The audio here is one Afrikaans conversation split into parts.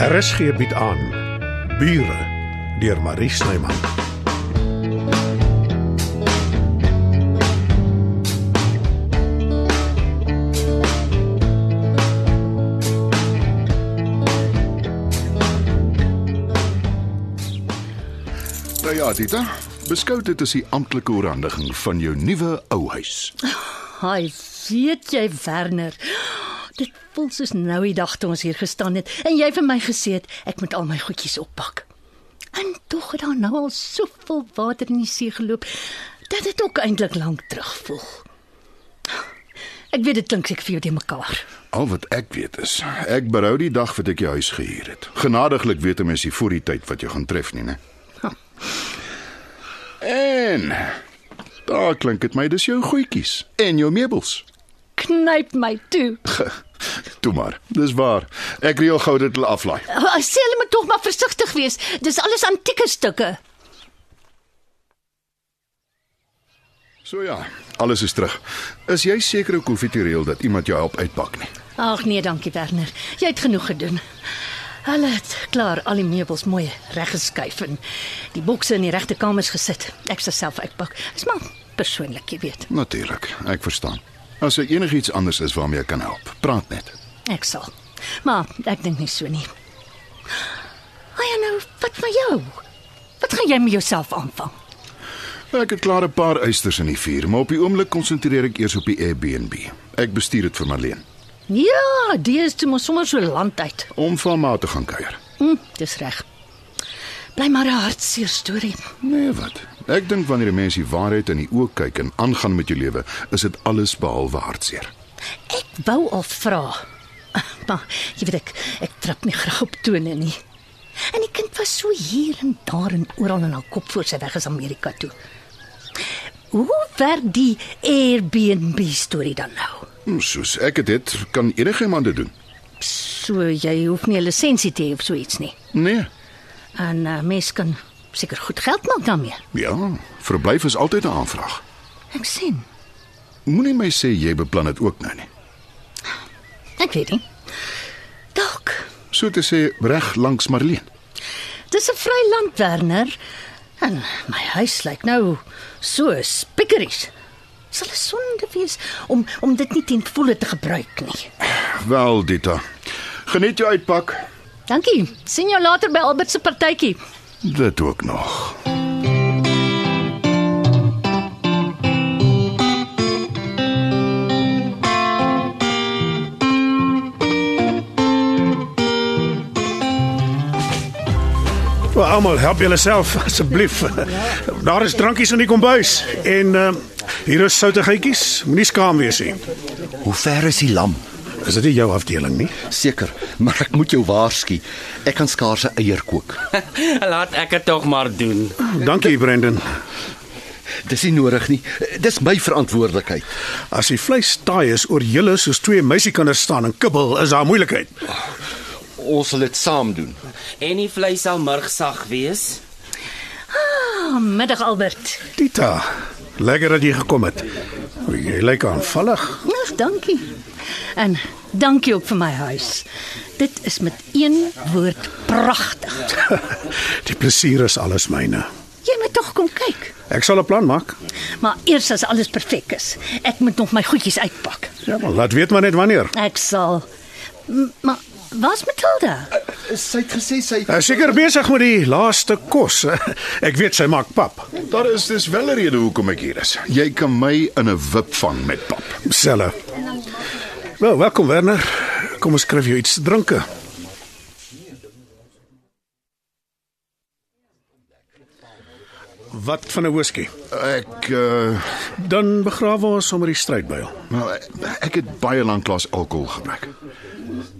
RSG bied aan Bure deur Marie Snyman. Nou ja, Dita, beskou dit as die amptelike oorhandiging van jou nuwe ou huis. Haai, weet jy Werner, dit voel soos nou die dag toe ons hier gestaan het en jy vir my gesê het ek moet al my goedjies oppak. En tog het daar nou al soveel water in die see geloop dat dit ook eintlik lank terug voel. Ek weet dit klink seker vir jou te mekaar. Al wat ek weet is, ek berou die dag wat ek jou huis gehuur het. Genadiglik weet 'n mens nie voor die tyd wat jou gaan tref nie, né? En daar klink dit my dis jou goedjies en jou meubels. Knyp my toe. Toe maar, dis waar. Ek reël gou dit hulle aflaai. Ah, Sê hulle moet tog maar versigtig wees. Dis alles antieke stukke. So ja, alles is terug. Is jy seker ook hoef jy te reël dat iemand jou help uitpak nie? Ag nee, dankie Werner. Jy het genoeg gedoen. Hulle het klaar al die meubels mooi reggeskuif en die bokse in die regte kamers gesit. Ek sal self uitpak. Dis maar persoonlik, jy weet. Natuurlik, ek verstaan. As daar enigiets anders is waarmee ek kan help, praat net. Ek sal. Maar ek dink nie so nie. Ai nou, wat van jou? Wat gaan jy met jouself aanvang? Ek het klaar 'n paar eisters in die vuur, maar op die oomblik konsentreer ek eers op die Airbnb. Ek bestuur dit vir Marleen Ja, dis toe mos sommer so land uit. om van ma te gaan kuier. Hm, dis reg. Bly maar 'n hartseer storie. Nee, wat? Ek dink wanneer 'n mens die waarheid in die oë kyk en aangaan met jou lewe, is dit alles behalwe hartseer. Ek wou al vra. Maar jy weet ek, ek trap nie graag op tone nie. En die kind was so hier en daar en oral in haar kop voor sy weg is Amerika toe. Hoe ver die Airbnb storie dan nou? Hm, Soos ek het dit kan enigiemand dit doen. So jy hoef nie 'n lisensie te hê of so iets nie. Nee. En uh, mens kan seker goed geld maak daarmee. Ja, verblyf is altyd 'n aanvraag. Ek sien. Moenie my sê jy beplan dit ook nou nie. Ek weet nie. Dalk. So te sê reg langs Marleen. Dis 'n vry land, Werner. En my huis lyk nou so spikkeries. Sal 'n sonde wees om om dit nie ten volle te gebruik nie. Wel, Dita. Geniet jou uitpak. Dankie. sien jou later by Albert se partytjie. Dit ook nog. Wel almal, help julleself asseblief. Daar is drankies in die kombuis en ehm hier is soutigheidjies. Moenie skaam wees nie. Hoe ver is die lam? Is dit nie jou afdeling nie? Seker, maar ek moet jou waarsku. Ek kan skaars 'n eier kook. Laat ek dit tog maar doen. Dankie Brendan. Dis nie nodig nie. Dis my verantwoordelikheid. As die vleis taai is oor julle soos twee meisiekinders staan en kibbel, is daar moeilikheid. Ons sal dit saam doen. En die vleis sal murgsag wees. Middag Albert. Tita, lekker dat jy gekom het. O, Jy lyk aanvallig. Ag, Ja, dankie. En dankie ook vir my huis. Dit is met een woord pragtig. Die plesier is alles myne. Jy moet tog kom kyk. Ek sal 'n plan maak. Maar eers as alles perfek is, ek moet nog my goedjies uitpak. Ja, maar laat weet maar net wanneer. Ek sal M- Maar waar's Matilda? Sy het gesê sy Ek is Eh, seker besig met die laaste kos. Ek weet sy maak pap. Daar is dis wel 'n rede hoekom ek hier is. Jy kan my in 'n wip vang met pap. Selle. Wel, welkom Werner. Kom ons skryf jou iets te drinke. Wat van 'n whisky? Ek uh Dan begrawe ons sommer die strydbuil. wel, ek het baie lank klas alkohol gebruik.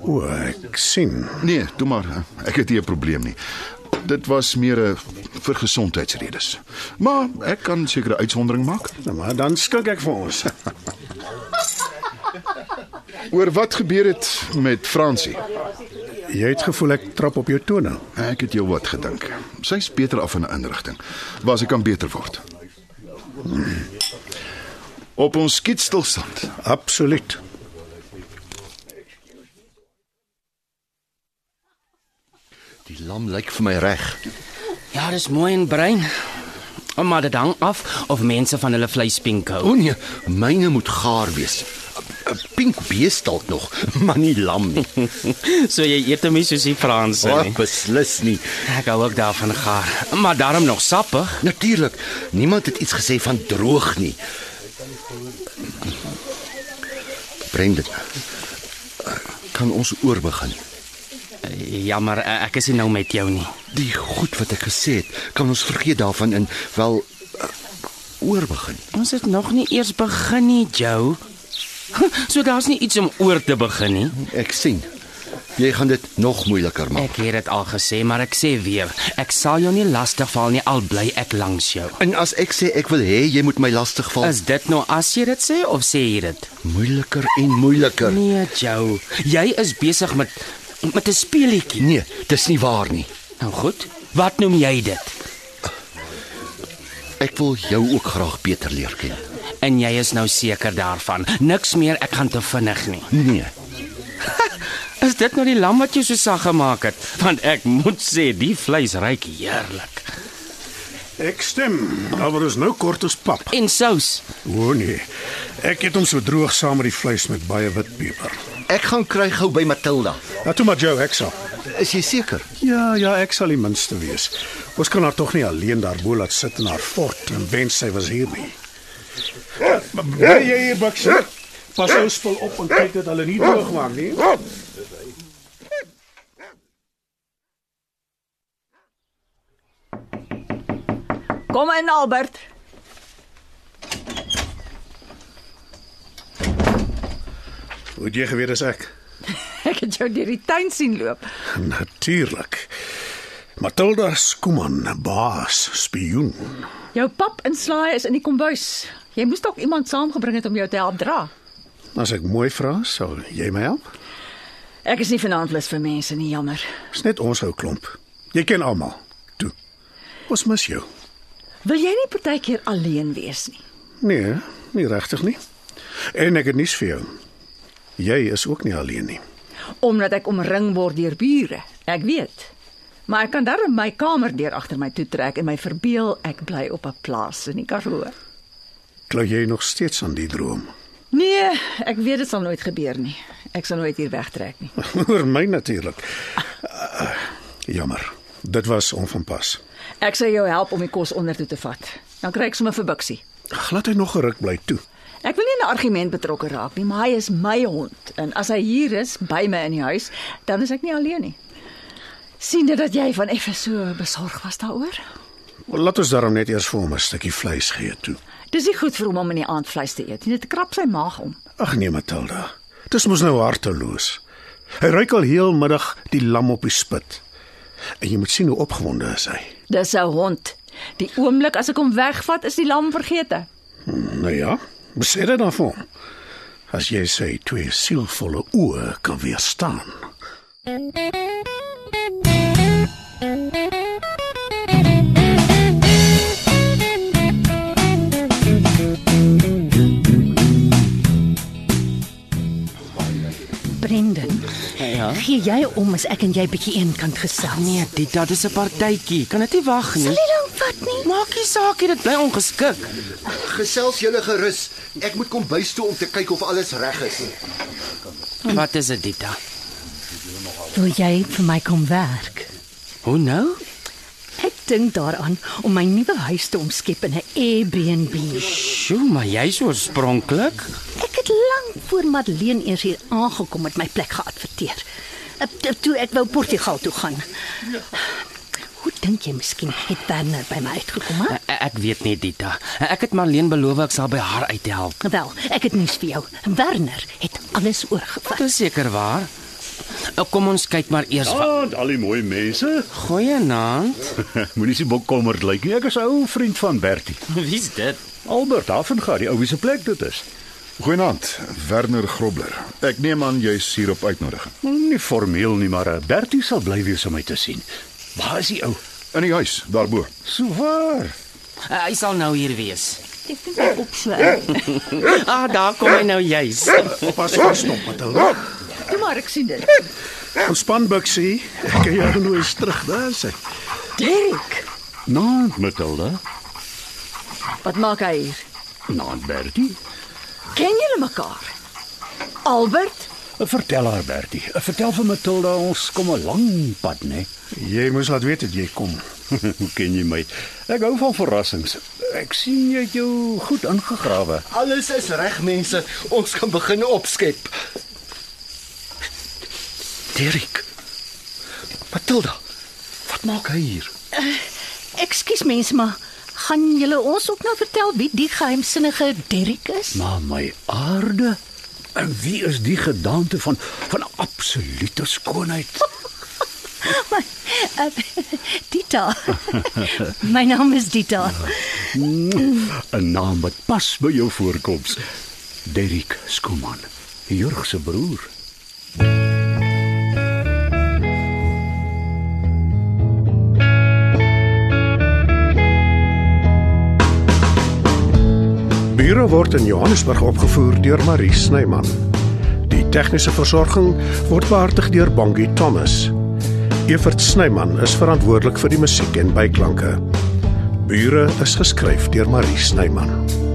O, ek sien. Nee, toe maar. Ek het nie 'n probleem nie. Dit was meer 'n vir gesondheidsredes. Maar ek kan seker 'n uitsondering maak. Nou maar dan skink ek vir ons. Oor wat gebeur het met Fransie? Jy het gevoel ek trap op jou tone. Ek het jou wat gedink. Sy's beter af in 'n inrigting waar sy kan beter word. Op ons skietstilstand. Absoluut. lam lyk vir my reg. Ja, dis mooi en brein. Maar dit hang af of mense van hulle vleis pink hou. O nee, myne moet gaar wees. 'n Pink bees dalk nog, maar nie lam nie. So jy eet hom nie soos die Franse Oh, nie. beslis nie. Ek hou ook daarvan gaar, maar daarom nog sappig. Natuurlik, niemand het iets gesê van droog nie. Brendan. Kan ons oorbegin? Jammer, ek is nie nou met jou nie. Die goed wat ek gesê het, kan ons vergeet daarvan in wel eh, oorbegin. Ons het nog nie eers begin nie, Joe. So daar's nie iets om oor te begin nie. Ek sien. Jy gaan dit nog moeiliker maak. Ek het dit al gesê, maar ek sê weer, ek sal jou nie lastigval nie al bly ek langs jou. En as ek sê ek wil hê jy moet my lastigval, Is dit nou as jy dit sê of sê jy dit? moeiliker en moeiliker. Nee, Joe, jy is besig met met 'n speelietjie. Nee, dis nie waar nie. Nou goed, wat noem jy dit? Ek wil jou ook graag beter leer ken. En jy is nou seker daarvan. Niks meer, ek gaan te vinnig nie. Nee, Is dit nou die lam wat jy so sag gemaak het? Want ek moet sê, die vleis ruik heerlik. Ek stem. Alhoewel ons nou kort ons pap. En sous. O nee. Ek het hom so droog saam met die vleis met baie wit peper. ek gaan kry gou by Matilda. Nou toe maar Joe, ek sal. Is jy seker? Ja, ja, ek sal die minste wees. Ons kan haar tog nie alleen daarbo laat sit in haar fort en wens sy was hier nie. Bly jy hier baksie? ja, Pas ons vol op en kyk dat hulle nie droog maak nie. Kom in Albert. Hoe het jy geweet as ek? Ek het jou deur die tuin sien loop. Natuurlik. Matilda Skuman, baas, spioen. Jou pap en slaai is in die kombuis. Jy moes dalk iemand saamgebring het om jou te help dra. As ek mooi vra, sal jy my help? Ek is nie vanaand lus vir mense nie, jammer. Dis net ons ou klomp. Jy ken almal. Toe. Ons mis jou. Wil jy nie partykeer alleen wees nie? Nee, nie regtig nie. En ek het nuus vir jou. Jy is ook nie alleen nie. Omdat ek omring word deur bure. Ek weet. Maar ek kan darm my kamer deur agter my toe trek en my verbeel ek bly op 'n plaas in die Karoo. Klou jy nog steeds aan die droom? Nee, ek weet dit sal nooit gebeur nie. Ek sal nooit hier wegtrek nie. Oor my natuurlik. Uh, jammer. Dit was onvanpas. Ek sal jou help om die kos onder toe te vat. Dan kry ek sommer vir Bixie. Glad hy nog geruk bly toe. Ek wil nie in 'n argument betrokke raak nie, maar hy is my hond en as hy hier is by my in die huis, dan is ek nie alleen nie. Sien dit dat jy van effe so besorg was daaroor? Laat ons daarom net eers vir hom 'n stukkie vleis gee toe. Dis nie goed vir hom om in die aand vleis te eet nie. Dit krap sy maag om. Ag nee, Matilda. Dis mos nou harteloos. Hy ruik al heel middag die lam op die spit. En jy moet sien hoe opgewonde is hy. Dis 'n hond. Die oomblik as ek hom wegvat, is die lam vergete. Nou ja, sê dit dan vir hom. As jy sê twee sielvolle oë kan weerstaan. Brendan, Ja. gee jy om as ek en jy bietjie eenkant gesels? Nee, dit dat is 'n partytjie. Kan dit nie wag nie. Sal jy lank vat nie? Maak nie saak nie, dit bly ongeskik. Gesels julle gerus. Ek moet kom bys toe om te kyk of alles reg is. Wat is dit, Dita? Wil jy vir my kom werk? Hoe nou? Ek dink daaraan om my nuwe huis te omskep in 'n Airbnb. Sjoe, maar jy's oorspronklik. Ek het lank voor Madeleine eers hier aangekom met my plek geadverteer. Ek- to- Toe ek wou Portugal toe gaan. Hoe dink jy miskien het Werner by my uitgekom? He? Ek, E, ek weet nie, Dita. Ek het Marleen beloof ek sal by haar uithelp. Wel, ek het nuus vir jou. Werner het alles oorgevat. Dis seker waar. Nou, Kom ons kyk maar eers. wa- Oh. Aand al die mooi mense. Goeienaand. Moenie so bokkommerd lyk nie. Ek is 'n ou vriend van Bertie. Wie's dit? Albert Havenga, die ou wie se plek dit is. Goeienaand, Werner Grobler. Ek neem aan jy's hier op uitnodiging. Nie formeel nie, maar eh, Bertie sal bly wees om my te sien. Waar is die ou? In die huis daarbo. So waar. Uh, hy sal nou hier wees. Ek dink hy op so. in. Ah, daar kom hy nou juis. Pas op, stop Matilda. Toe maar ek sien dit. Ontspan Bixie, ek kan jou nou eens terug daar sê. Dirk, Naand Matilda, wat maak hy hier? naand Bertie. Ken julle mekaar? Albert, Vertel haar Bertie, vertel vir Matilda ons kom 'n lang pad, né? Jy moes laat weet dat jy kom. Hoe ken jy my? Ek hou van verrassings. Ek sien jy het jou goed ingegrawe. Alles is reg mense. Ons kan begin opskep. Dirk. Matilda. Wat maak hy hier? Ekskuus mense, maar gaan julle ons ook nou vertel wie die geheimsinnige Derrick is? Maar my aarde, en wie is die gedagte van van absolute skoonheid? Maar, uh, Dita. My naam is Dita. 'n Naam wat pas by jou voorkoms. Derrick Skuman, Jurg se broer. Bure word in Johannesburg opgevoer deur Marie Snyman. Die tegniese versorging word behartig deur Bongie Thomas. Evert Snyman is verantwoordelik vir die musiek en byklanke. Bure is geskryf deur Marie Snyman.